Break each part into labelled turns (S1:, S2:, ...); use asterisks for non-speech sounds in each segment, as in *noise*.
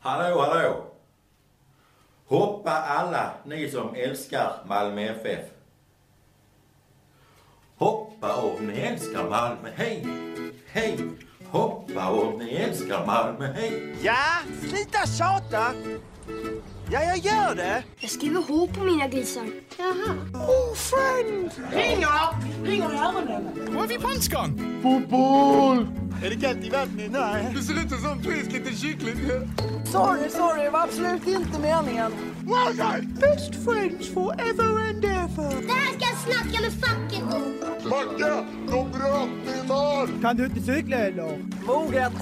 S1: Hallå, hallå! Hoppa alla ni som älskar Malmö FF. Hoppa om ni älskar Malmö, hej! Hej! Hoppa om ni älskar Malmö, hej!
S2: Ja, sluta tjata! Ja, jag gör det.
S3: Jag skriver H på mina grisar.
S2: Ofränd!
S4: Vad är vi punchgång?
S2: Är det kallt i vattnet? Nej.
S4: Det ser ut som en frisk liten kyckling.
S2: Sorry, sorry. Det var absolut inte meningen. Best friends forever and ever.
S5: Det här ska jag snacka med facket om.
S6: Macke, de bröt min arm!
S7: Kan du inte cykla eller?
S2: Moget.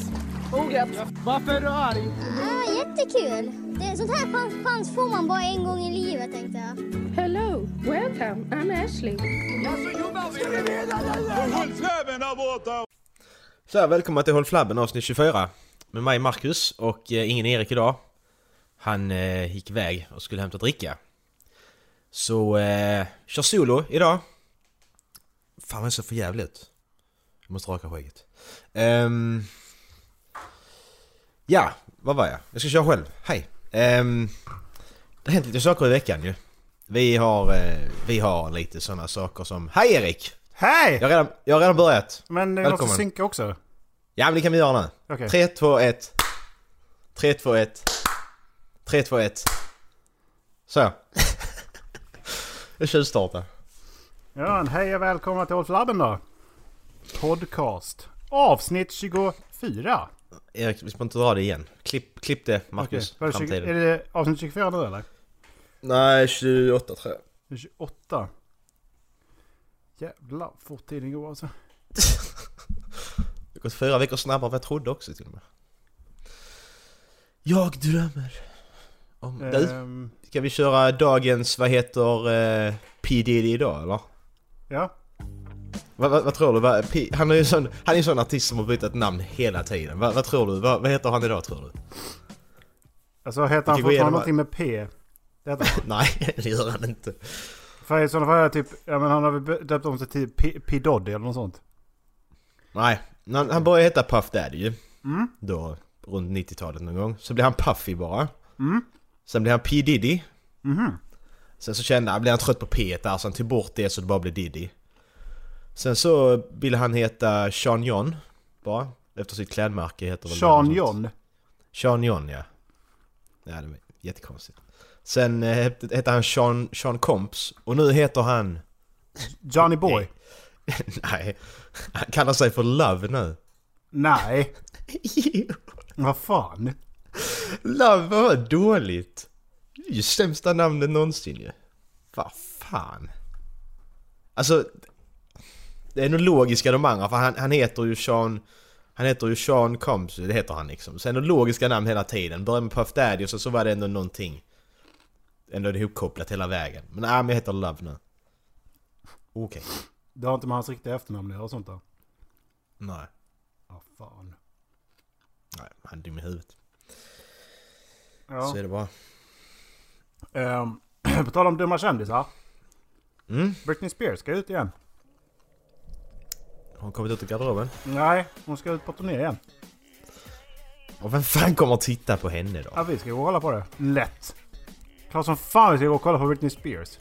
S2: Moget.
S7: Varför är du arg?
S5: Ah, jättekul. Det, sånt här chans, chans får man bara en gång i livet tänkte jag.
S8: Hello, welcome. I'm Ashley.
S4: Alltså,
S9: Så här, välkomna till Håll Flabben avsnitt 24 Med mig Marcus och eh, ingen Erik idag Han eh, gick iväg och skulle hämta dricka Så eh, kör solo idag Fan vad jag ser för jävligt ut. Jag måste raka skägget Ehm, Ja, vad var jag? Jag ska köra själv, hej Ehm, Det har hänt lite saker i veckan ju Vi har, eh, vi har lite sådana saker som Hej Erik!
S10: Hej!
S9: Jag har redan, jag har redan börjat
S10: Men det måste
S9: Välkommen.
S10: synka också.
S9: Ja men det kan vi göra nu.
S10: Okej.
S9: 3, 2, 1. 3, 2, 1. 3, 2, 1. Så.
S10: *laughs*
S9: Jag tjuvstartar.
S10: Ja, men hej och välkomna till Ulf Labben då. Podcast. Avsnitt 24.
S9: Erik, vi ska inte dra det igen. Klipp, klipp det Marcus.
S10: Okej, var det tjugo-
S9: Framtiden.
S10: Är det avsnitt 24 nu eller?
S9: Nej, 28 tror jag. *laughs*
S10: Det är 28. Jävlar, fort tiden går alltså.
S9: Det har gått fyra veckor snabbare än vad jag trodde också till och med. Jag drömmer. Om... Du,
S10: Ehm,
S9: ska vi köra dagens, vad heter eh, P Diddy idag eller?
S10: ja.
S9: Vad, vad, vad tror du? Vad, P, han är ju sån, han är en sån artist som har bytt namn hela tiden. Vad, vad tror du? Vad, vad heter han idag tror du?
S10: Alltså
S9: gå
S10: heter han fortfarande
S9: igenom-
S10: någonting med P? Det heter han.
S9: *laughs* Nej, det gör han inte.
S10: För i sådana fall är det typ, ja men han har väl döpt om sig till P- P-Doddy eller något sånt.
S9: Nej, han, han började heta Puff Daddy ju. Då, runt 90-talet någon gång. Så blev han Puffy bara. Mm. Sen blev han P Diddy. Mhm. Sen så kände han, blev han trött på P där så han tog bort det så det bara blev Diddy. Sen så ville han heta Sean John. Bara. Efter sitt klädmärke heter väl det något
S10: Sean
S9: sånt.
S10: John.
S9: Sean John ja. Ja, det var jättekonstigt. Sen eh, hette- hette han Sean, Sean Combs och nu heter han... *laughs*
S10: Johnny Boy.
S9: Nej, han kallar sig för Love nu.
S10: Nej. Vad fan?
S9: Love var dåligt. Det är ju sämsta namnet någonsin ju. Vad fan. Alltså, det är nog logiska de andra för han, han heter ju Sean... Han heter ju Sean Combs, det heter han liksom. Sen är det logiska namn hela tiden. Började med Puff Daddy och så, så var det ändå någonting. Ändå ihopkopplat hela vägen. Men nej, men jag heter Love nu. Okej.
S10: Det har inte med hans riktiga efternamn att göra och sånt där.
S9: Nej.
S10: Ja, fan.
S9: Nej, han är dum i huvudet.
S10: Ja.
S9: Så är det bara.
S10: Ehm, *clears throat* på tal om dumma kändisar.
S9: Mm.
S10: Britney Spears ska ut igen.
S9: Har hon kommit ut ur garderoben?
S10: Nej, hon ska ut på turné igen.
S9: Och vem fan kommer att titta på henne då?
S10: Ja, vi ska gå och kolla på det. Lätt. Klart som fan vi ska gå och kolla på Britney Spears.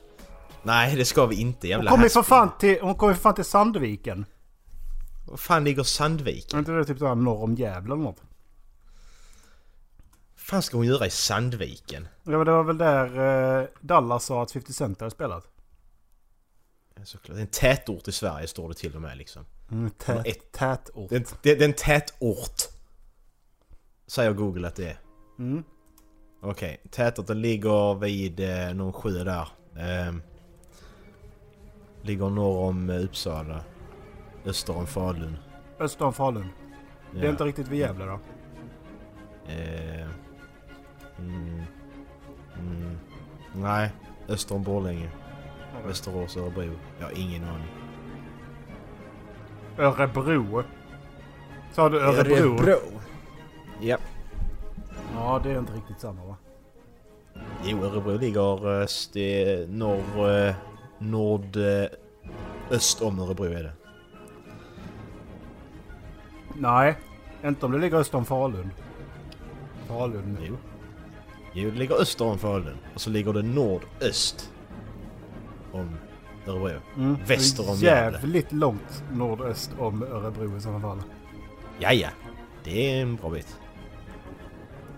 S9: Nej, det ska vi inte.
S10: Hon
S9: Jävla
S10: kommer ju
S9: haspel.
S10: för fan till, hon kommer för fan till Sandviken.
S9: Var fan ligger Sandviken?
S10: Är inte det typ där norr om Gävle eller något?
S9: Vad fan ska hon göra i Sandviken?
S10: Ja, men det var väl där eh, Dallas sa att 50 Cent hade spelat.
S9: Ja, Såklart. Det är en tätort i Sverige står det till och med liksom.
S10: Mm, tät,
S9: Ett-
S10: tätort.
S9: Det är en, det, det är en tätort. Säger Google att det är.
S10: Mm.
S9: Okej, tätorten ligger vid eh, någon sjö där. Ehm, ligger norr om eh, Uppsala. Öster om Falun.
S10: Öster om Falun. Det
S9: Ja.
S10: är inte riktigt vid Gävle då.
S9: Eh, mm, mm, nej, öster om Borlänge. Västerås, Örebro. Jag har ingen aning.
S10: Örebro. Sa du Örebro?
S9: Ja.
S10: Ja, det är inte riktigt samma va?
S9: Jo, Örebro ligger eh, st- norr... eh, Nord... eh, Öst om Örebro är det.
S10: Nej, inte om det ligger öster om Falun. Falun nu.
S9: Jo. Jo, det ligger öster om Falun och så ligger det nordöst om Örebro.
S10: Hm?
S9: Väster om Gävle.
S10: Jävligt långt nordöst om Örebro i sådana fall.
S9: Ja, ja. Det är en bra bit.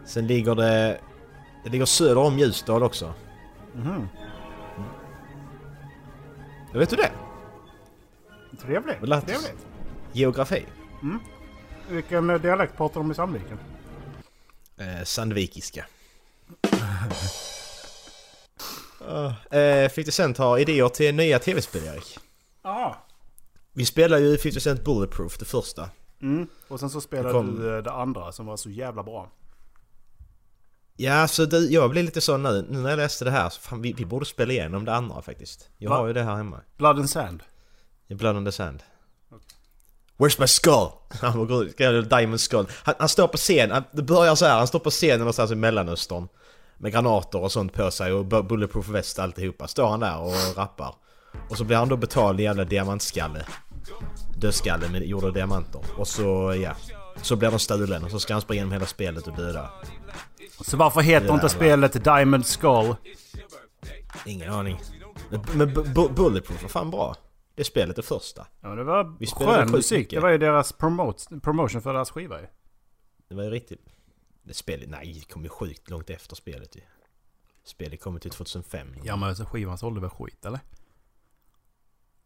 S9: Sen ligger det... Det ligger söder om Ljusdal också. Mm. Jag vet du det?
S10: Trevligt.
S9: Väl att-
S10: Trevligt.
S9: Geografi.
S10: Vilken eh, dialekt pratar de i Sandviken?
S9: Eh, sandvikiska. Ah, eh, 50 Cent har idéer till nya tv-spel, Erik.
S10: Ja.
S9: Vi spelar ju 50 Cent Bulletproof, det första.
S10: Och sen så spelade
S9: Det kom-
S10: du eh, det andra som var så jävla bra.
S9: Ja, så det, jag blev lite sån nu, nu när jag läste det här, så fan, vi, vi borde spela igenom det andra faktiskt. Jag
S10: Va?
S9: har ju det här hemma.
S10: Blood and Sand.
S9: I Blood on the Sand. Where's my skull? *laughs* Han går ut, kallar det Diamond skull. Han, han står på scen, han, det börjar så här, han står på scenen någonstans i Mellanöstern. Med granater och sånt på sig och bu- bulletproof väst och alltihopa. Står han där och rappar. Och så blir han då betald i jävla diamantskalle. Dödskalle med gjorda av diamanter. Och så, ja. Så blir de stulen och så ska han springa genom hela spelet och döda.
S10: Så varför heter
S9: Det
S10: inte
S9: där
S10: spelet Diamond Skull?
S9: Ingen aning. Men, men bu- bu- bulletproof var fan bra. Det spelet, det första.
S10: Ja, men det var
S9: Vi spelade
S10: skön
S9: sjukt
S10: musik.
S9: mycket.
S10: Det var ju deras promote, promotion för deras skiva ju.
S9: Det var ju riktigt... Det spelet, nej, det kom ju sjukt långt efter spelet ju. Spelet kom ut 2005.
S10: Ja men så skivan sålde väl skit eller?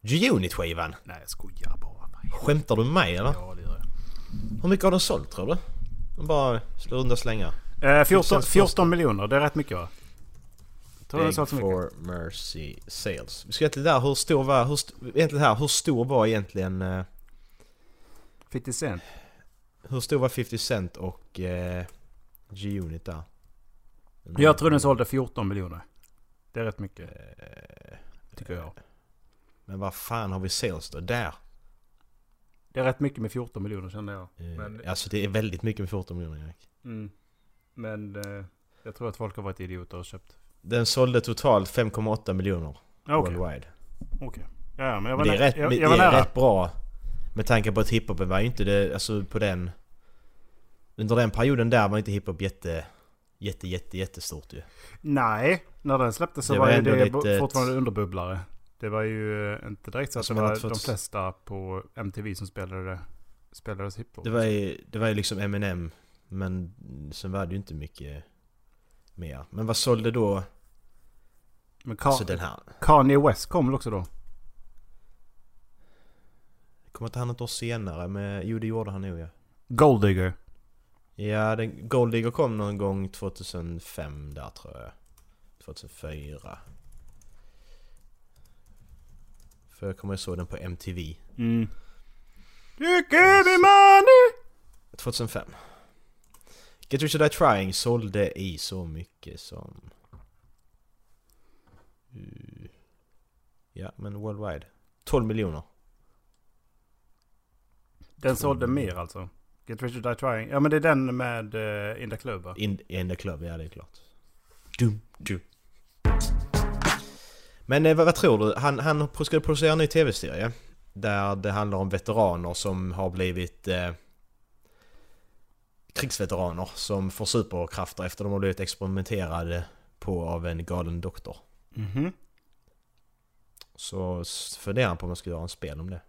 S9: G-Unit-skivan!
S10: Nej jag skojar bara.
S9: Skämtar du med mig eller?
S10: Ja det gör jag.
S9: Hur mycket har den sålt tror du? De bara slår runda slängar.
S10: Eh, 14,
S9: Känns först.
S10: 14 miljoner, det är rätt mycket va? Jag Tror det är så
S9: Beg
S10: så mycket.
S9: for mercy sales. Vi ska egentligen där, hur stor var, hur, st- egentligen här, hur stor var egentligen, eh,
S10: 50 cent.
S9: Mm. hur stor var 50 Cent och eh, G-Unit där?
S10: Jag tror den sålde 14 miljoner. Det är rätt mycket.
S9: Eh,
S10: Tycker jag.
S9: Men vad fan har vi sales då? Där!
S10: Det är rätt mycket med 14 miljoner känner jag. Men,
S9: Eh, alltså det är väldigt mycket med 14 miljoner Erik.
S10: mm, men eh, jag tror att folk har varit idioter och köpt.
S9: Den sålde totalt 5,8 miljoner
S10: Ja, Okej.
S9: worldwide.
S10: okej. Ja, ja, men jag var,
S9: Ah, Men det är,
S10: nä-
S9: rätt,
S10: jag,
S9: men
S10: jag var
S9: det är
S10: nära.
S9: rätt bra. Med tanke på att hiphopen var ju inte det, alltså på den... Under den perioden där var inte hiphop jätte, jätte, jätte, jättestort ju.
S10: Nej, när den släpptes så
S9: Det
S10: var,
S9: var
S10: ju
S9: ändå
S10: det
S9: lite
S10: bo-
S9: ett-
S10: fortfarande underbubblare. Det var ju eh, inte direkt så att
S9: Alltså,
S10: det
S9: man
S10: var
S9: har inte
S10: de
S9: fått-
S10: flesta på MTV som spelade det. Spelades hiphop.
S9: Det var ju, det var ju liksom Eminem, men sen var det ju inte mycket mer. Men vad sålde då?
S10: Men Ka-
S9: Alltså den här.
S10: Kanye West kom väl också då?
S9: Kommer inte han ett år senare med... Jo det gjorde han nog ja.
S10: Golddigger.
S9: Ja, den, Gold Digger kom någon gång 2005 där tror jag. 2004. För jag kommer ihåg jag såg den på MTV.
S10: You give me money!
S9: 2005. Get Rich or Die Trying sålde i så mycket som... Eh, Ja, men worldwide. 12 miljoner.
S10: Den sålde mer alltså. Get Rich or Die Trying. Ja men det är den med uh, In the Club va?
S9: In, in the club, ja det är klart. Dum, dum. Men eh, vad, vad tror du? Han, han skulle producera en ny tv-serie. Där det handlar om veteraner som har blivit eh, krigsveteraner som får superkrafter efter de har blivit experimenterade på av en galen doktor.
S10: Mhm.
S9: Så s- funderar han på om man ska göra en spel om det.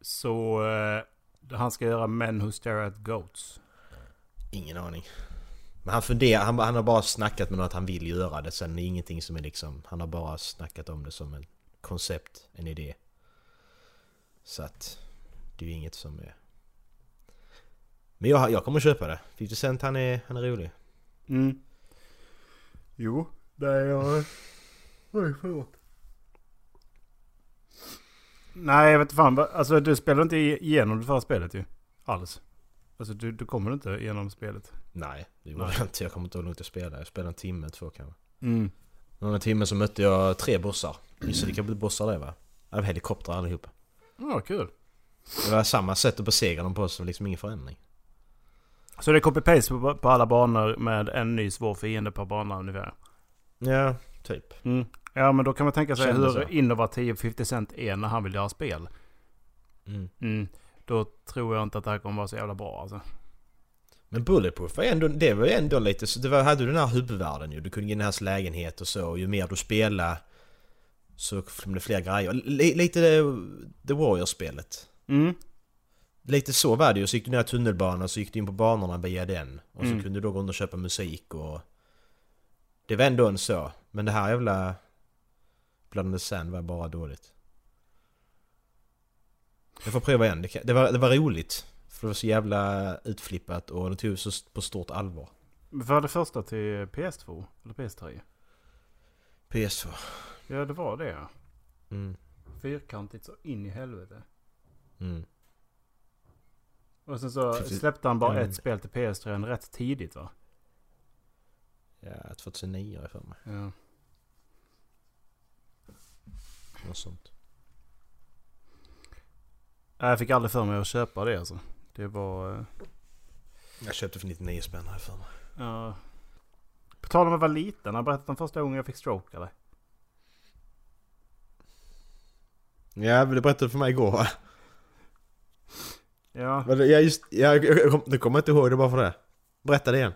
S10: Så eh, han ska göra Men Who Stare At Goats.
S9: Ingen aning. Men han funderar, han, han har bara snackat med någon att han vill göra det. Sen är det ingenting som är liksom, han har bara snackat om det som en koncept, en idé. Så att det är ju inget som är... Men jag, jag kommer köpa det. 50 Cent han är, han är rolig.
S10: Mm. Jo, det är eh, jag... Oj, förlåt. Nej, jag vet inte fan. va- Alltså du spelar inte i- igenom det förra spelet ju. Alls. Alltså du, du kommer inte igenom spelet.
S9: Nej, det gjorde
S10: Nej.
S9: jag inte. Jag kommer inte ihåg hur långt jag spelade. Jag spelade en timme, två kanske.
S10: Mm.
S9: Någon timme så mötte jag tre bossar. Gissa vilka bossar det var? Det var helikoptrar allihopa.
S10: Ja, kul.
S9: Det var samma sätt att besegra dem på, så det var liksom ingen förändring.
S10: Så det är copy-paste på, på alla banor med en ny svår fiende per bana ungefär?
S9: Ja, typ.
S10: Ja, men då kan man tänka sig
S9: Känner
S10: hur
S9: så.
S10: innovativ 50 Cent är när han vill göra spel.
S9: Mm.
S10: Mm. Då tror jag inte att det här kommer vara så jävla bra alltså.
S9: Men Bulletproof var ändå, det var ju ändå lite så, det var, hade du den här huvudvärlden ju, du kunde gå in i hans lägenhet och så, och ju mer du spelade så kom det fler grejer. Li- lite det, The Warriors-spelet.
S10: Mm.
S9: Lite så var det ju, så gick du ner i tunnelbanan så gick du in på banorna via den. Och så kunde du då gå runt och köpa musik och... Det var ändå en så, men det här jävla... Bland the Sand var bara dåligt. Jag får pröva igen, det, kan, det, var, det var roligt. För det var så jävla utflippat och det tog så st- på stort allvar.
S10: Var det första till PS2? Eller PS3?
S9: PS2.
S10: Ja, det var det ja.
S9: Mm.
S10: Fyrkantigt så in i helvete.
S9: Mm.
S10: Och sen så
S9: Fy- fy-
S10: släppte han bara
S9: Mm.
S10: ett spel till PS3 rätt tidigt va?
S9: Ja, 2009 har jag för mig.
S10: Ja.
S9: Något sånt.
S10: Nej, Jag fick aldrig för mig att köpa det alltså. Det var... eh,
S9: Jag köpte för 99 spänn har jag för mig.
S10: Ja. På tal om att vara liten, har jag berättat om första gången jag fick stroke eller?
S9: Ja, men du berättade för mig igår *laughs* va?
S10: Ja.
S9: Var det- Ja, just, ja, jag, jag, kom- nu kommer jag inte ihåg det bara för det. Berätta det igen.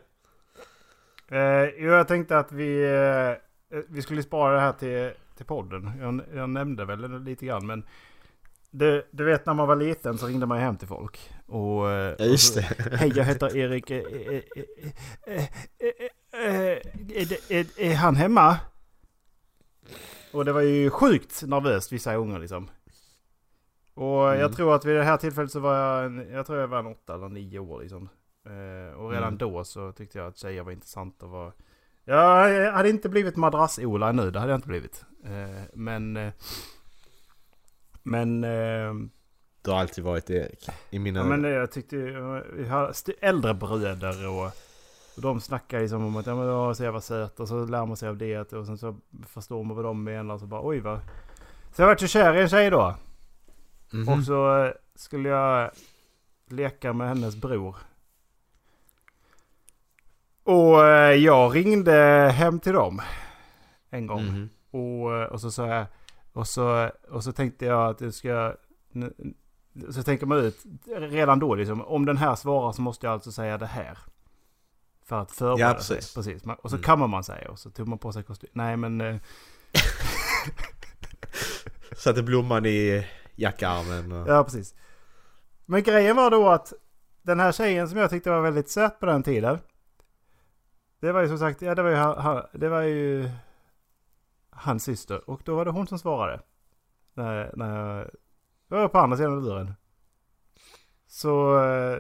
S10: Eh, jo, jag tänkte att vi, eh, vi skulle spara det här till, till podden. Jag, jag nämnde väl det lite grann, men du, du vet när man var liten så ringde man ju hem till folk. Och, eh,
S9: Ja,
S10: och
S9: just
S10: så,
S9: det.
S10: *laughs* Hej, jag heter Erik. Eh, eh, eh, eh, eh, eh, eh, Är, det- är, är han hemma? Och det var ju sjukt nervöst vissa gånger liksom. Och
S9: Mm.
S10: jag tror att vid det här tillfället så var jag, en, jag tror jag var en åtta eller nio år liksom. Eh, och redan
S9: Mm.
S10: då så tyckte jag att tjejer var intressant och var... Ja, Jag hade inte blivit madrass-Ola nu, det hade jag inte blivit. Eh, men... eh, Men... Eh,
S9: *laughs* Du har alltid varit Erik. I mina
S10: Ja,
S9: ögon.
S10: men eh, jag tyckte ju, eh, vi har st- äldre bröder och, och de snackar liksom om att ja, men, jag är så jävla söt och så lär man sig av det och sen så förstår man vad de menar och så bara oj vad. Så jag vart ju kär i en tjej då
S9: Mhm.
S10: och så eh, skulle jag leka med hennes bror. Och eh, jag ringde hem till dem en gång.
S9: Mhm.
S10: Och, och så sa jag, och så, och så tänkte jag att jag ska, n- så tänker man ut redan då liksom, om den här svarar så måste jag alltså säga det här. För att förbereda
S9: Ja, precis.
S10: sig. Precis. Man- Och så
S9: Mm.
S10: kammar man sig och så tog man på sig kostym. Nej men, eh,
S9: Satte blomman i jackarmen och...
S10: ja precis. Men grejen var då att den här tjejen som jag tyckte var väldigt söt på den tiden. Det var ju som sagt, ja det var ju, han, han- det var ju hans syster. Och då var det hon som svarade. När, när jag, jag var på andra sidan luren. Så... eh,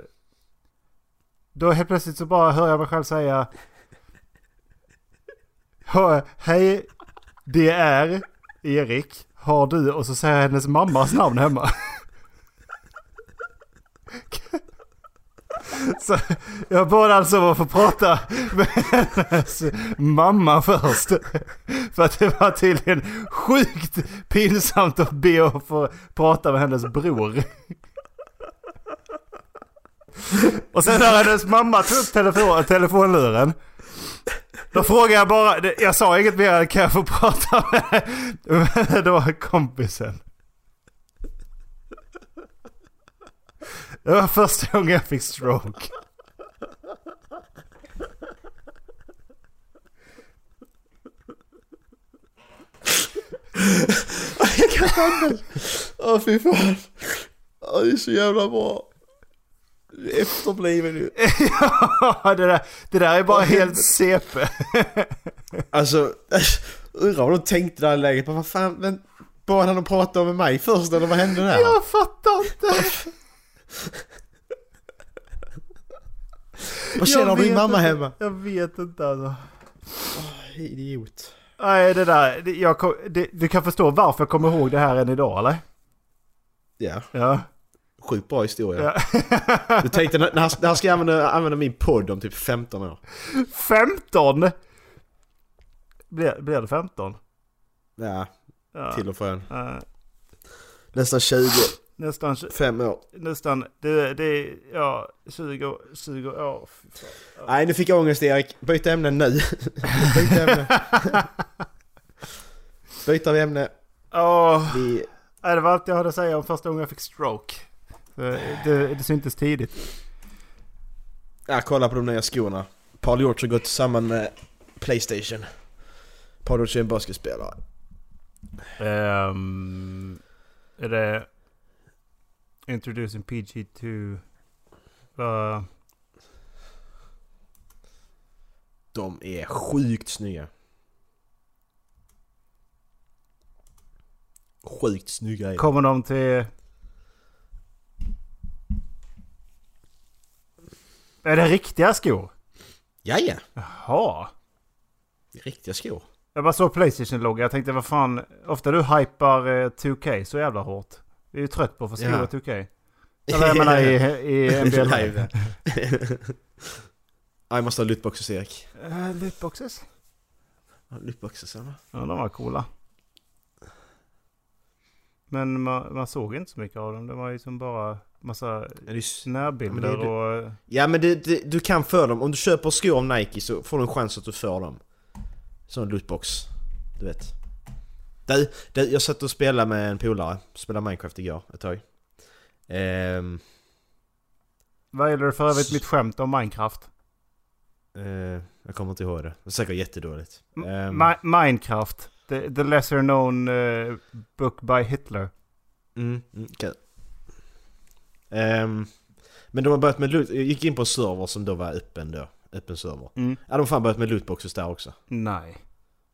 S10: Då helt plötsligt så bara hör jag mig själv säga... "Hö- Hej, det är Erik. Har du... Och så säger jag hennes mammas namn hemma. Så jag bad alltså om att få prata med hennes mamma först. För att det var tydligen sjukt pinsamt att be att få prata med hennes bror. Och sen när hennes mamma tog upp telefon, telefonluren. Då frågade jag bara, det- jag sa inget mer, kan jag få prata med, med då kompisen? Det var första gången jag fick stroke.
S9: Åh fy fan. Åh, det är så jävla bra. Du är Efterbliven ju.
S10: Ja, det, där, det där är bara helt CP.
S9: Alltså, *laughs* undrar vad de tänkte i det här läget. Men vad fan, men... Bad han att prata med mig först eller vad hände där?
S10: Jag fattar inte.
S9: vad känner
S10: jag
S9: din
S10: vet
S9: mamma
S10: inte.
S9: hemma?
S10: Jag vet inte alltså.
S9: Idiot.
S10: Nej, det där, det, jag, kom- det, du kan förstå varför jag kommer ihåg det här än idag eller?
S9: Ja,
S10: Ja.
S9: sjukt bra historia. Du tänkte när han, när han ska använda, använda min podd om typ 15 år.
S10: 15! Blir, blir det 15?
S9: Ja,
S10: Ja.
S9: till och från.
S10: Eh,
S9: Nästan 25
S10: nästan, tj-
S9: år.
S10: nästan, det, det är, ja, 20, 20 år. Fy fan.
S9: Nej, nu fick jag ångest Erik. Byt ämne nu. *laughs* Byt ämne. Byter vi ämne.
S10: Åh,
S9: Vi...
S10: nej, det var allt jag hade att säga om första gången jag fick stroke. Eh, Det, det syntes tidigt.
S9: Ja, kolla på de nya skorna. Paul George har gått samman med Playstation. Paul George är en basketspelare.
S10: Ehm, är det... Introducing PG2... Vad...
S9: De är sjukt snygga. Sjukt snygga är de.
S10: kommer de till... Är det riktiga skor?
S9: Ja, ja.
S10: Jaha.
S9: Riktiga skor.
S10: Jag bara såg Playstation-logga. Jag tänkte vad fan. Ofta du hypar eh, 2K så jävla hårt. Vi är ju trött på att få skriva
S9: Ja.
S10: 2K. Eller jag menar i,
S9: *laughs*
S10: i NBL. *laughs*
S9: Live. Jag måste ha lootboxes Erik.
S10: Eh, Lootboxes?
S9: Har du Lootboxes eller?
S10: Ja, de var coola. Men man, man såg inte så mycket av dem. Det var ju som bara massa
S9: Ja, det är s-
S10: närbilder
S9: Ja, men det
S10: och... eh,
S9: Ja men du, du, du kan få dem. Om du köper skor av Nike så får du en chans att du får dem. Sån lootbox. Du vet. Du, du, jag satt och spelade med en polare. Spelade Minecraft igår ett tag. Ehm,
S10: Vad gäller för övrigt mitt skämt om Minecraft?
S9: eh, jag kommer inte ihåg det. Det är säkert jättedåligt.
S10: Mm,
S9: Ehm,
S10: Mi- Minecraft. The, the lesser known eh, book by Hitler.
S9: Mm, mm, kul. Ehm, men de har börjat med loot... Jag gick in på en server som då var öppen då. Öppen server.
S10: Mm.
S9: Ja, de har fan börjat med lootboxes där också.
S10: Nej.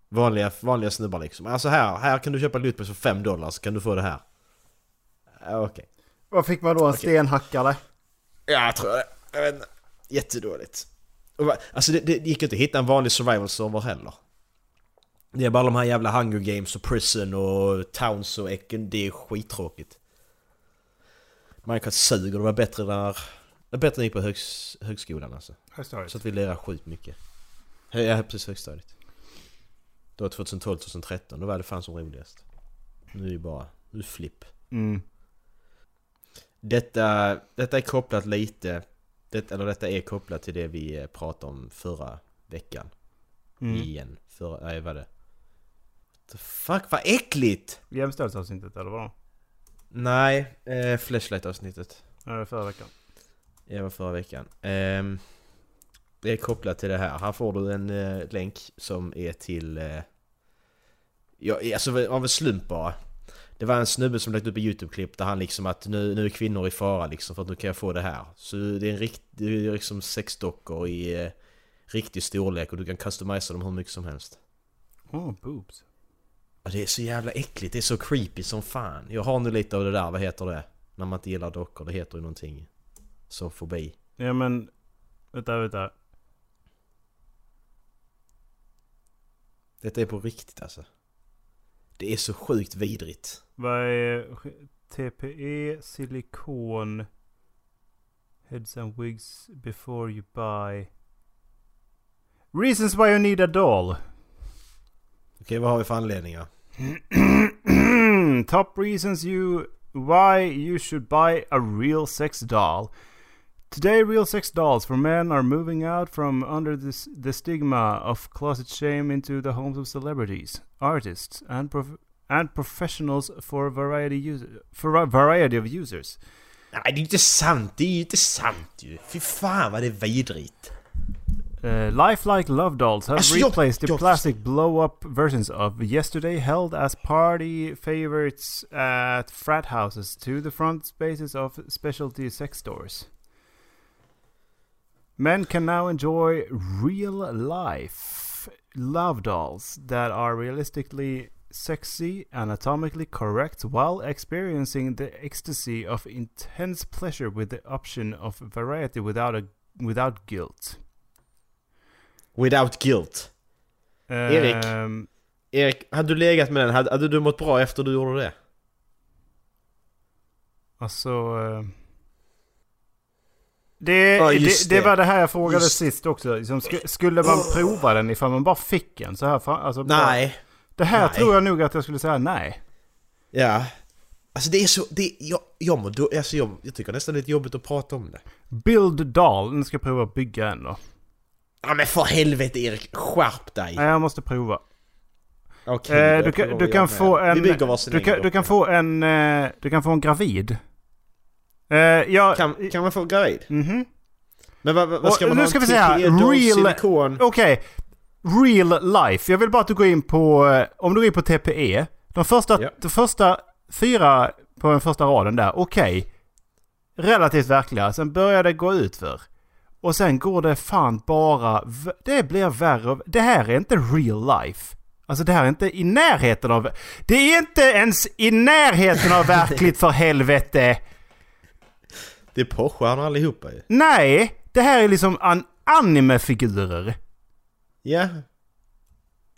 S9: Vanliga, vanliga snubbar liksom. Alltså här, här kan du köpa en lootbox för 5 dollar så kan du få det här. Ja, Okej.
S10: Vad fick man då? En stenhackare?
S9: Ja, jag tror det. Jag vet inte. Jättedåligt. Och va- Alltså det, det gick ju inte att hitta en vanlig survival-server heller. Det är bara de här jävla Hunger Games och Prison och Towns och Ecken. Det är skittråkigt. Minecraft suger. Det var bättre där... Det var bättre än gick på högs, högskolan alltså. Så att vi lirar sjukt mycket. Hö- Ja, precis högstadiet. Det var 2012-2013. Då var det fan som roligast. Nu är det bara... Nu är det flipp.
S10: Mm.
S9: Detta, detta är kopplat lite, det, eller detta är kopplat till det vi eh, pratade om förra veckan.
S10: Mm.
S9: Igen. Förra, nej vad det? The fuck vad äckligt!
S10: Jämställdhetsavsnittet eller vadå?
S9: Nej, eh, flashlight avsnittet.
S10: Ja, det var förra veckan.
S9: Det var förra veckan. Ehm, det är kopplat till det här. Här får du en eh, länk som är till... Eh, ja, alltså av en slump bara. Det var en snubbe som lagt upp ett YouTube-klipp där han liksom att nu, nu är kvinnor i fara liksom för att nu kan jag få det här. Så det är en rikt, det är liksom sexdockor i eh, riktig storlek och du kan customisa dem hur mycket som helst.
S10: Åh, oh, boobs.
S9: Ja, det är så jävla äckligt, det är så creepy som fan. Jag har nu lite av det där, vad heter det? När man inte gillar dockor, det heter ju någonting. Som fobi.
S10: Ja men... Vänta, vänta.
S9: Detta är på riktigt alltså. Det är så sjukt vidrigt.
S10: Vad är sk- TPE, silikon, heads and wigs before you buy? Reasons why you need a doll. *clears throat*
S9: Okej, vad har vi för anledningar?
S10: Top reasons you why you should buy a real sex doll. Today, real sex dolls for men are moving out from under this, the stigma of closet shame into the homes of celebrities, artists, and prof- and professionals for a variety user, for a variety of users.
S9: Nej, det är inte sant! Det är ju inte sant ju! Fy fan vad det är vidrigt!
S10: Uh, lifelike love dolls have
S9: Alltså, jag-
S10: replaced the
S9: jag-
S10: plastic blow-up versions of yesterday held as party favorites at frat houses to the front spaces of specialty sex stores. Men can now enjoy real life love dolls that are realistically sexy, anatomically correct, while experiencing the ecstasy of intense pleasure with the option of variety without a without guilt.
S9: Without guilt. Erik.
S10: Ehm,
S9: Erik, hade du legat med den, hade, hade du mått bra efter du gjorde det?
S10: alltså... eh, det,
S9: Ja,
S10: det,
S9: just
S10: det
S9: det.
S10: var det här jag frågade
S9: Just-
S10: sist också. Liksom, sk- skulle man prova den ifall man bara fick en så här? Fan, alltså, bara-
S9: Nej.
S10: det här
S9: nej.
S10: tror jag nog att jag skulle säga nej.
S9: Ja. Alltså det är så, det, jag, jag mår då, alltså jag, jag tycker nästan det är lite jobbigt att prata om det.
S10: Build doll. Nu ska jag prova att bygga en då.
S9: Ja men för helvete Erik, skärp dig!
S10: Nej, jag måste prova.
S9: Okej,
S10: Eh,
S9: jag
S10: du,
S9: provar
S10: kan, du
S9: jag
S10: kan
S9: med.
S10: få en...
S9: Vi bygger varsin
S10: du
S9: egen
S10: kan, du
S9: docka.
S10: kan få en... eh, Du kan få en gravid. Eh, jag,
S9: Kan, kan man få gravid?
S10: Mhm.
S9: Men vad, vad vad ska
S10: Och
S9: man
S10: nu
S9: ha Typ
S10: ska
S9: en
S10: vi se här.
S9: till dildo,
S10: Real-
S9: silikon?
S10: Okej. Real life. Jag vill bara att du går in på... eh, Om du går in på TPE. De första,
S9: Ja.
S10: de första fyra på den första raden där. Okej. Relativt verkliga. Sen börjar det gå ut för. Och sen går det fan bara... v- Det blir värre och... Det här är inte real life. Alltså det här är inte i närheten av... Det är inte ens i
S9: *laughs*
S10: närheten av verkligt för helvete!
S9: Det är porrstjärnor allihopa ju.
S10: Nej! Det här är liksom an animefigurer.
S9: Ja.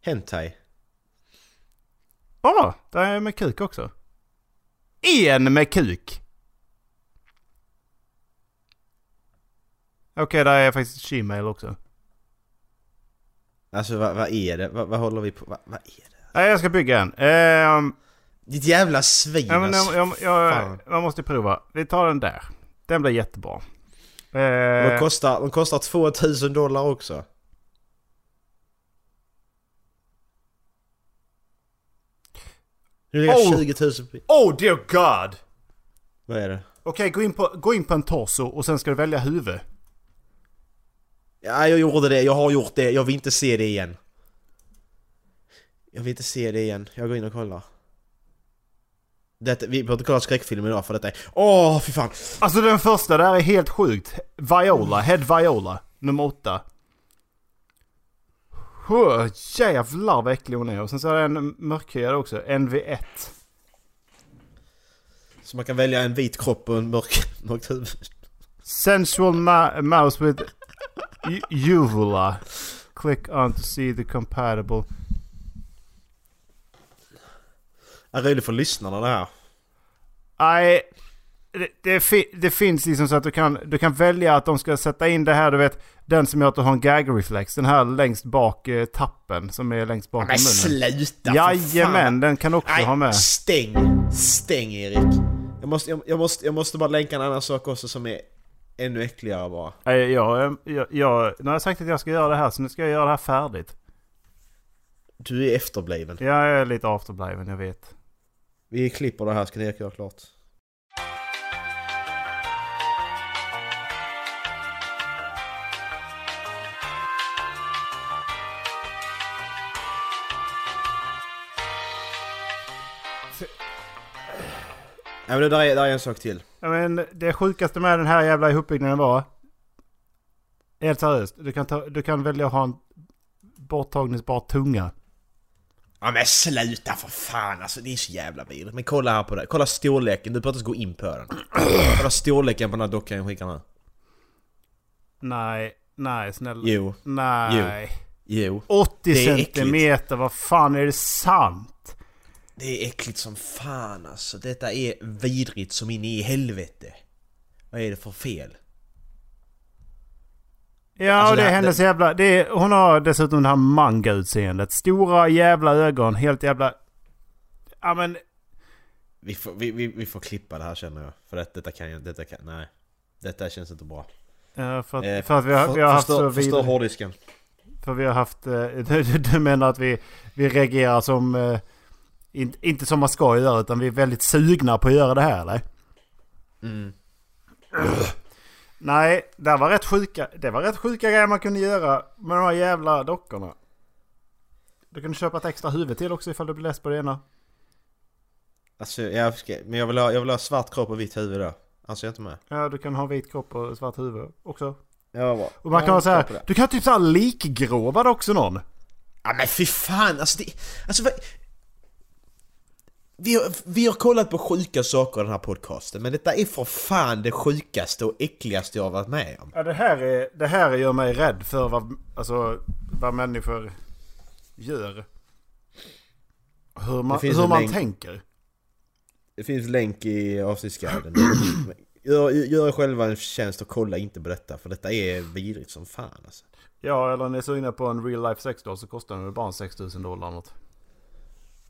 S9: Hentai.
S10: Ja, det är med kuk också. En med kuk! Okej, där är faktiskt Gmail också.
S9: Alltså vad, vad är det? Vad, vad håller vi på? Vad, vad är det?
S10: Nej, jag ska bygga en. Ehm,
S9: Ditt jävla svin
S10: ja, men jag,
S9: alltså.
S10: jag, jag,
S9: Fan.
S10: jag måste prova. Vi tar den där. Den blir jättebra.
S9: De
S10: Ehm,
S9: kostar, de kostar 2000 dollar också. Nu ligger
S10: Oh.
S9: 20 000 på...
S10: oh dear god!
S9: Vad är det?
S10: Okej, gå, in på, gå in på en torso och sen ska du välja huvud.
S9: Ja, jag gjorde det. Jag har gjort det. Jag vill inte se det igen. Jag vill inte se det igen. Jag går in och kollar. Detta, vi behöver inte kolla skräckfilm idag för detta är... Åh, fy fan!
S10: Alltså den första där är helt sjukt. Viola, Head Viola, nummer åtta. Huh, jävlar vad äcklig hon är. Och sen så är det en mörkhyad också, NV1.
S9: Så man kan välja en vit kropp och en mörk, *laughs* mörkt huvud.
S10: Sensual ma- mouse with u- uvula. Click on to see the compatible.
S9: Är roligt för lyssnarna det här.
S10: Nej, det, det, fi- det finns liksom så att du kan, du kan välja att de ska sätta in det här, du vet, den som gör att du har en gag reflex. Den här längst bak eh, tappen som är längst bakom
S9: Men
S10: munnen.
S9: sluta för fan.
S10: Jajamän, den kan också ha med.
S9: stäng! Stäng Erik! Jag måste, jag, jag, måste, jag måste bara länka en annan sak också som är ännu äckligare bara.
S10: Nej, Jag, jag, jag, nu har jag sagt att jag ska göra det här, så nu ska jag göra det här färdigt.
S9: Du är efterbliven.
S10: Jag är lite afterbliven, jag vet.
S9: Vi klipper det här ska Erik göra klart. Nej men det där är, där är en sak till.
S10: Ja, Men det sjukaste med den här jävla ihopbyggnaden var... Helt seriöst, du kan, ta, du kan välja att ha en borttagningsbar tunga.
S9: Ja men sluta för fan alltså, det är så jävla vidrigt. Men kolla här på det, kolla storleken, du behöver inte ens gå in på den. Kolla storleken på den här dockan jag skickar nu.
S10: Nej, nej snälla.
S9: Jo,
S10: Nej.
S9: jo.
S10: 80
S9: Det är äckligt.
S10: centimeter, vad fan är det sant?
S9: Det är äckligt som fan alltså, detta är vidrigt som in i helvete. Vad är det för fel?
S10: Ja,
S9: Alltså,
S10: och det
S9: det
S10: är
S9: här-
S10: hennes jävla... Det är, hon har dessutom det här manga-utseendet. Stora jävla ögon, helt jävla... Ja men...
S9: Vi får, vi, vi, vi får klippa det här känner jag, för att detta kan jag detta kan, nej. Detta känns inte bra.
S10: Ja, för, att,
S9: Eh,
S10: för att vi har,
S9: för-
S10: vi har haft
S9: förstör-
S10: så
S9: Förstör
S10: vidrigt.
S9: hårddisken.
S10: För vi har haft... eh, *laughs* Du, du, du menar att vi, vi reagerar som... eh, In, inte som man ska göra utan vi är väldigt sugna på att göra det här eller?
S9: Mm.
S10: Nej, det var rätt sjuka, det var rätt sjuka grejer man kunde göra med de här jävla dockorna. Du kunde köpa ett extra huvud till också ifall du blir less på det ena.
S9: Alltså jag ska, men jag vill ha, jag vill ha svart kropp och vitt huvud då. Alltså jag är inte med.
S10: Ja, du kan ha vit kropp och svart huvud också.
S9: Ja, bra.
S10: Och man kan
S9: Ja,
S10: ha så här,
S9: klipper det.
S10: du kan ha typ såhär likgråvad också någon.
S9: Ja men fy fan, alltså det... Alltså vad... Vi har, vi har kollat på sjuka saker i den här podcasten, men detta är för fan det sjukaste och äckligaste jag har varit med om.
S10: Ja, det här, är, det här gör mig rädd för vad, alltså, vad människor gör. Hur man,
S9: Det finns
S10: hur
S9: en
S10: man
S9: mängd-
S10: tänker.
S9: Det finns länk i avsnittsguiden. *clears throat* Gör, gör er själva en tjänst och kolla inte på detta, för detta är vidrigt som fan alltså.
S10: Ja, eller om ni är sugna på en real life sexdoll så kostar den väl bara en 6000 dollar något.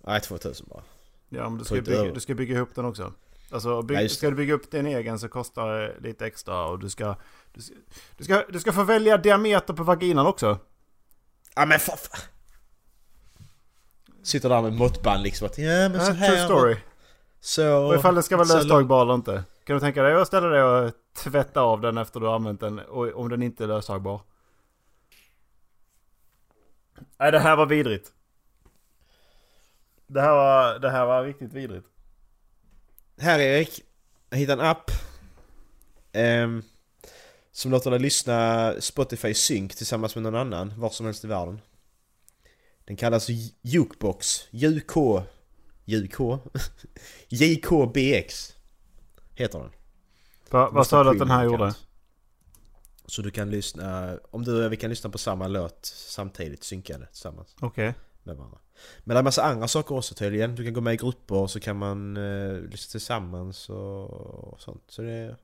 S9: Nej, 2000 bara.
S10: Ja, men du ska,
S9: Punkt
S10: bygga,
S9: över.
S10: du ska bygga ihop den också. Alltså, by,
S9: Ja, just det.
S10: ska du bygga upp din egen så kostar det lite extra och du ska... Du ska, du ska, du ska få välja diameter på vaginan också.
S9: Ja men för fan. Sitter där med måttband liksom att ja men så
S10: Äh,
S9: här.
S10: True story.
S9: Så...
S10: Och ifall det ska vara
S9: så-
S10: löstagbar eller inte. Kan du tänka dig att ställa dig och tvätta av den efter du har använt den och, om den inte är lösagbar? Nej det här var vidrigt. Det här var, det här var riktigt vidrigt.
S9: Här Erik, jag hittade en app ehm, som låter dig lyssna Spotify Sync tillsammans med någon annan var som helst i världen. Den kallas Ju- Jukebox, JK, JK, *laughs* JKBX heter den.
S10: Va, vad sa du att den här
S9: Premium,
S10: gjorde?
S9: kallas. Så du kan lyssna, om du och jag, vi kan lyssna på samma låt samtidigt, synkade tillsammans.
S10: Okej.
S9: med varandra. Men det är en massa andra saker också tydligen. Du kan gå med i grupper så kan man eh, lyssna tillsammans och, och sånt. Så det...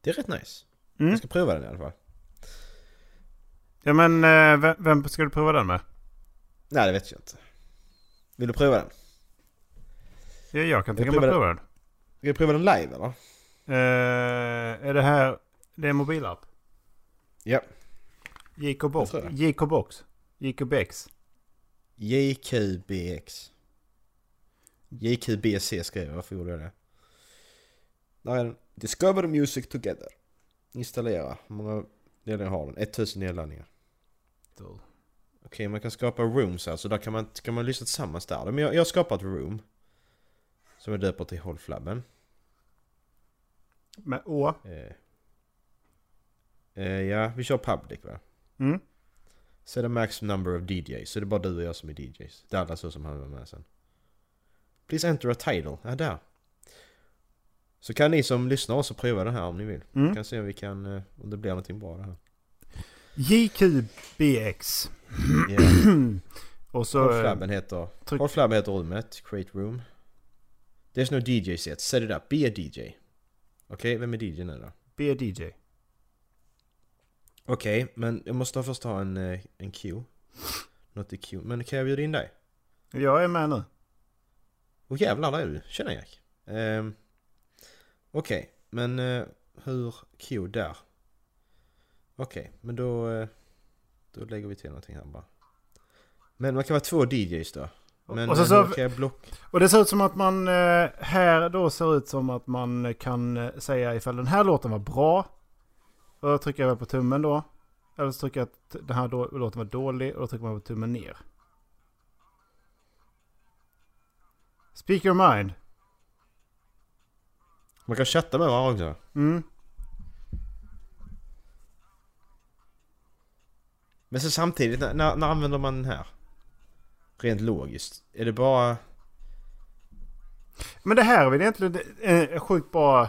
S9: Det är rätt nice.
S10: Mm.
S9: Jag ska prova den i alla fall.
S10: Ja men eh, vem, vem ska du prova den med?
S9: Nej, det vet jag inte. Vill du prova den?
S10: Ja, jag kan
S9: Jag
S10: tänka mig
S9: provar
S10: att prova den.
S9: Ska du prova den live eller?
S10: Eh, är det här... Det är en mobilapp?
S9: Ja.
S10: JK Box?
S9: Jag tror det.
S10: JK Box? JK Bex?
S9: JQBX. JQBC skrev jag, varför gjorde jag det? Där är den. Discover Music Together. Installera. Hur många nedladdningar har den? 1000 nedladdningar. Okej, man kan skapa rooms här, så där kan man, kan man lyssna tillsammans där. Men jag, jag har skapat room. Som jag döper till Hållflabben.
S10: Med Å?
S9: Eh. Eh, ja, vi kör public va?
S10: Mm.
S9: Så är det max number of DJs, så det är bara du och jag som är DJs. Det är alla så som han var med sen. Please enter a title. Ja, där. Så kan ni som lyssnar också pröva det här om ni vill.
S10: Mm.
S9: Kan se om vi kan, eh, om det blir någonting bra det
S10: *clears throat*
S9: här.
S10: JQBX.
S9: Yeah.
S10: Och så... eh,
S9: Hållflabben heter,
S10: tryck-
S9: Hållflabben heter rummet, create room. There's no DJ set, set it up, be a DJ. Okej, vem är DJ nu då?
S10: Be a DJ.
S9: Okej, men jag måste först ha en, eh, en cue. Något i cue. Men kan jag bjuda in dig?
S10: Jag är med nu.
S9: Åh jävlar, där är du. Tjena Jack. Ehm, Okej, men eh, hur cue där? Okej, men då, eh, då lägger vi till någonting här bara. Men man kan vara två DJs då. Men
S10: Och så-
S9: eh,
S10: så-
S9: hur kan jag blocka?
S10: Och det ser ut som att man eh, här då ser ut som att man kan eh, säga ifall den här låten var bra. Och då trycker jag väl på tummen då. Eller så trycker jag att den här då, låten var dålig och då trycker man på tummen ner. Speak your mind.
S9: Man kan chatta med varandra också.
S10: Mm.
S9: Men så samtidigt, när, när, när använder man den här? Rent logiskt. Är det bara...
S10: Men det här är väl egentligen eh, sjukt bra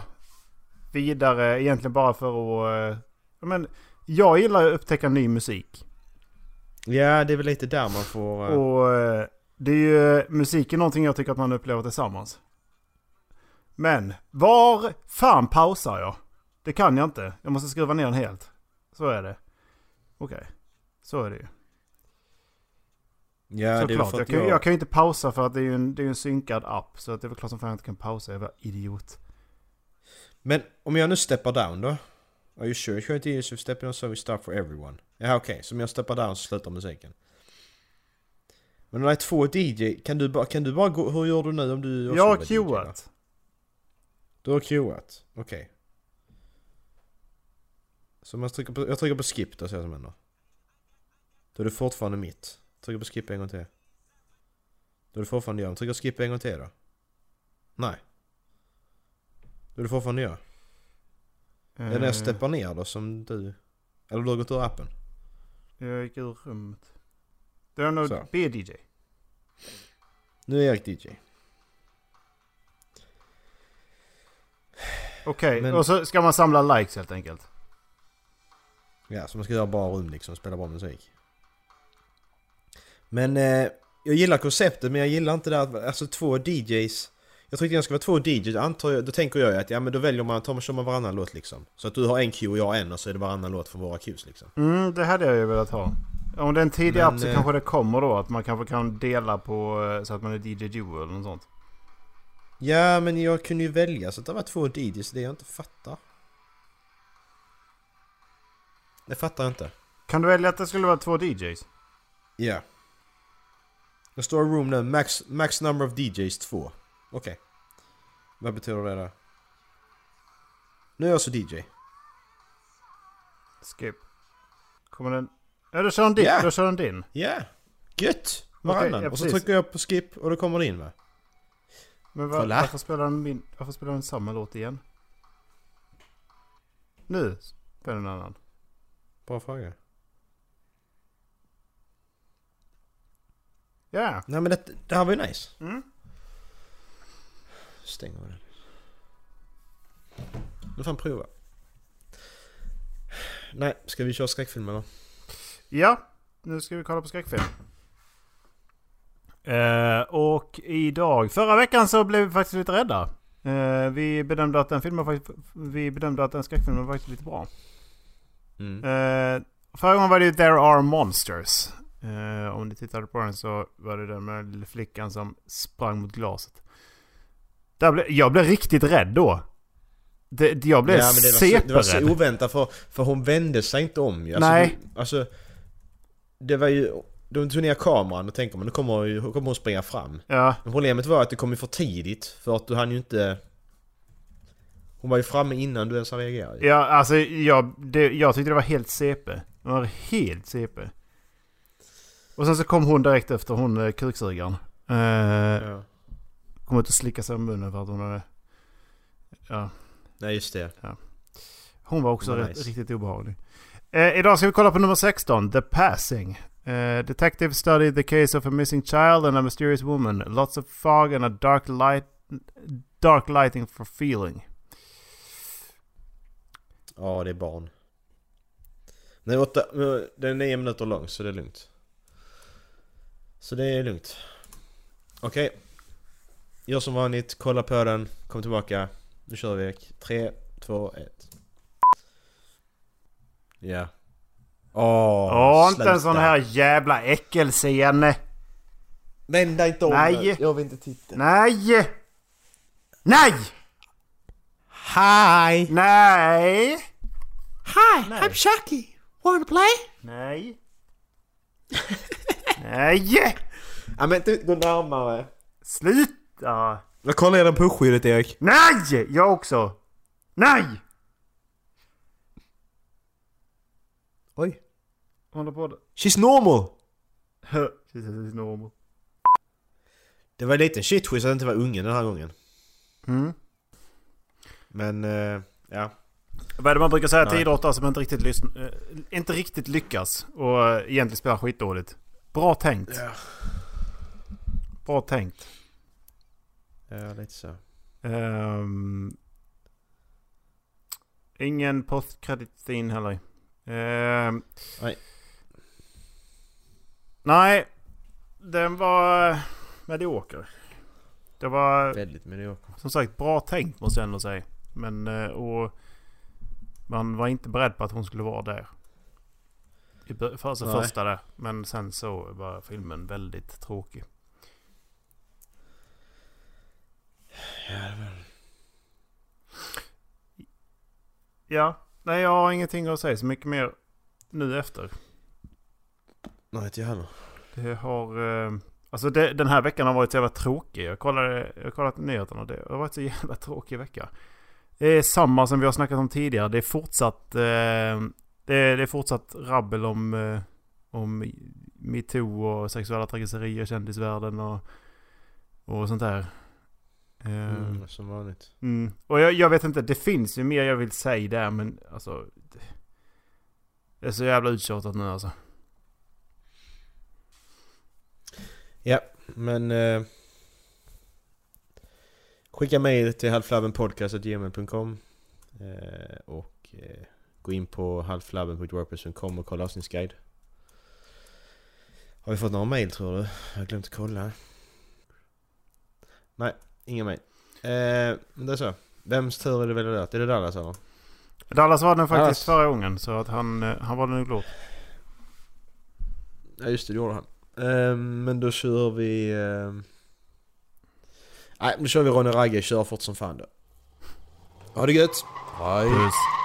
S10: vidare egentligen bara för att... Eh, ja, men jag gillar att upptäcka ny musik.
S9: Ja, det är väl lite där man får... eh,
S10: Och eh, det är ju musik är någonting jag tycker att man upplever tillsammans. Men var fan pausar jag? Det kan jag inte. Jag måste skruva ner den helt. Så är det. Okej. Så är det ju.
S9: ja, det är väl
S10: Såklart.
S9: för
S10: Jag
S9: att
S10: kan,
S9: jag...
S10: jag kan ju inte pausa för att det är ju en, det är ju en synkad app. Så att det är väl klart som fan jag inte kan pausa. Jag är idiot.
S9: Men om jag nu steppar down då? Are you sure? Sure inte use of stepping on service stuff for everyone. Ja okej, så om jag steppar down så slutar musiken. Men om det är två DJ, kan du bara, kan du bara gå, hur gör du nu om du också
S10: Jag har
S9: vill vara DJ, då?
S10: cueat.
S9: Du har cueat, okej. Så man trycker på, jag trycker på skip då ser jag som händer. Då är det fortfarande mitt. Trycker på skip en gång till. Då är det fortfarande jag. Trycker skip en gång till då. Nej. Då är det fortfarande jag. Är det när jag steppar ner då som du? Eller du har gått ur appen?
S10: Jag gick ur rummet. Det är nog
S9: Så.
S10: B-DJ.
S9: Nu är Erik DJ.
S10: Okej,
S9: Men-
S10: och så ska man samla likes helt enkelt.
S9: Ja, så man ska göra bra rum liksom, spela bra musik. Men eh, jag gillar konceptet men jag gillar inte det här, att- alltså två DJs. Jag tyckte jag ska vara två DJs, antar jag, då tänker jag ju att ja men då väljer man, tar man, kör man varannan låt liksom. Så att du har en cue och jag har en och så är det varannan låt för våra cues liksom.
S10: Mm, det hade jag ju velat ha. Om det är en tidig
S9: Men,
S10: app så
S9: eh,
S10: kanske det kommer då att man kanske kan dela på eh, så att man är DJ Duo eller något sånt.
S9: Ja men jag kunde ju välja så att det var två DJs, det är jag inte fattar. Det fattar jag inte.
S10: Kan du välja att det skulle vara två DJs?
S9: Ja. Det står room nu, max, max number of DJs 2. Okej. Vad betyder det då? Nu är jag så DJ.
S10: Skip. Kommer den... Ja, då kör den din.
S9: Ja.
S10: Då kör den din.
S9: Ja! Gött! Varannan.
S10: Okej, ja,
S9: och så
S10: precis.
S9: trycker jag på skip och då kommer det in va?
S10: Men var,
S9: Kolla.
S10: varför, spelar den min, varför spelar den samma låt igen? Nu spelar den en annan.
S9: Bra fråga.
S10: Ja,
S9: Nej men det, det här var ju nice.
S10: Mm.
S9: Stänger vi den. Nu får han prova. Nej, ska vi köra skräckfilm eller?
S10: Ja, nu ska vi kolla på skräckfilm. Eh, och idag, förra veckan så blev vi faktiskt lite rädda. Eh, vi, bedömde att den filmen, faktiskt- vi bedömde att den skräckfilmen var faktiskt lite bra.
S9: Mm.
S10: Eh, förra gången var det ju There Are Monsters. Eh, om ni tittade på den så var det den med den lilla flickan som sprang mot glaset. Där ble, jag blev riktigt rädd då. Det, jag blev
S9: Ja, men det, var så, det var
S10: superrädd.
S9: så oväntat för, för hon vände sig inte om ju. Alltså,
S10: Nej.
S9: Det, alltså, det var ju... De tog ner kameran och tänker man nu kommer, ju- kommer hon springa fram.
S10: Ja,
S9: Men problemet var att det kom ju för tidigt för att du hann ju inte... Hon var ju framme innan du ens reagerade. ju.
S10: Ja, alltså jag, det, jag tyckte det var helt CP. Det var helt CP. Och sen så kom hon direkt efter hon eh, kuksugaren. Eh,
S9: Ja.
S10: Kom ut och slickade sig om munnen för att hon hade... Ja,
S9: Nej just det.
S10: hon var också
S9: Nice.
S10: rätt, riktigt obehaglig. Eh, idag ska vi kolla på nummer 16, The Passing. Eh, detective studied the case of a missing child and a mysterious woman. Lots of fog and a dark light... Dark lighting for feeling.
S9: Ja, det är barn. Den är, åtta, den är nio minuter lång, så det är lugnt. Så det är lugnt. Okej. Gör som vanligt, kolla på den, kom tillbaka. Nu kör vi. 3, 2, 1. Ja. Åh,
S10: Åh, inte en sån
S9: sluta.
S10: här jävla äckelscen!
S9: Vända inte om
S10: Nej.
S9: nu. Jag vill inte titta.
S10: Nej! Nej!
S9: Hi!
S10: Nej!
S7: Hi, I'm Sharky. Wanna play?
S10: Nej! Nej!
S9: Ja, men du, gå närmare.
S10: Sluta!
S9: Jag kollar igenom pushskyddet Erik.
S10: Nej! Jag också! Nej!
S9: Oj.
S10: Håller på det.
S9: She's normal!
S10: Precis, det är normal.
S9: Det var en liten shitskjuts att det inte var ungen den här gången.
S10: Mm.
S9: Men, eh, ja.
S10: Vad är det man brukar säga till
S9: Nej.
S10: idrottare som inte riktigt, lyssn- eh, inte riktigt lyckas och eh, egentligen spelar skitdåligt? Bra tänkt.
S9: Ja.
S10: Bra tänkt.
S9: Ja, lite så.
S10: Ehm, ingen postkredit-scen heller. Ehm,
S9: Nej.
S10: Nej, den var eh, medioker. Det var
S9: Väldigt medioker.
S10: som sagt bra tänkt måste jag ändå säga. Men eh, och man var inte beredd på att hon skulle vara där. I bör- för- Alltså
S9: Nej.
S10: första där. Men sen så var filmen väldigt tråkig. Ja, nej jag har ingenting att säga så mycket mer nu efter.
S9: Nej, inte jag heller.
S10: Det har... Eh, alltså det, den här veckan har varit så jävla tråkig. Jag kollade, jag har kollat nyheterna och det har varit så *laughs* jävla tråkig vecka. Det är samma som vi har snackat om tidigare. Det är fortsatt... Eh, det, är, det är fortsatt rabbel om... Eh, om metoo och sexuella trakasserier, kändisvärlden och... Och sånt där. Eh,
S9: Mm, som vanligt.
S10: Mm. Och jag, jag vet inte, det finns ju mer jag vill säga där men alltså... Det, det är så jävla uttjatat nu alltså.
S9: Men... Eh, skicka mejl till halflabbenpodcast.gmail.com eh, Och eh, gå in på halflabben.wordpress.com och kolla avsnittsguide. Har vi fått några mejl tror du? Jag har glömt att kolla. Nej, inga mejl. Eh, men det är så. Vems tur är det väl det där? Är det Dallas eller?
S10: Dallas var den faktiskt
S9: Dallas.
S10: förra gången så att han, eh, han var nog glad.
S9: Ja just det, det gjorde han. Ehm, men då kör vi... ehm, Nej, nu kör vi Ronny Ragge. Kör fort som fan då. Ha det gött! Hej!
S10: Puss.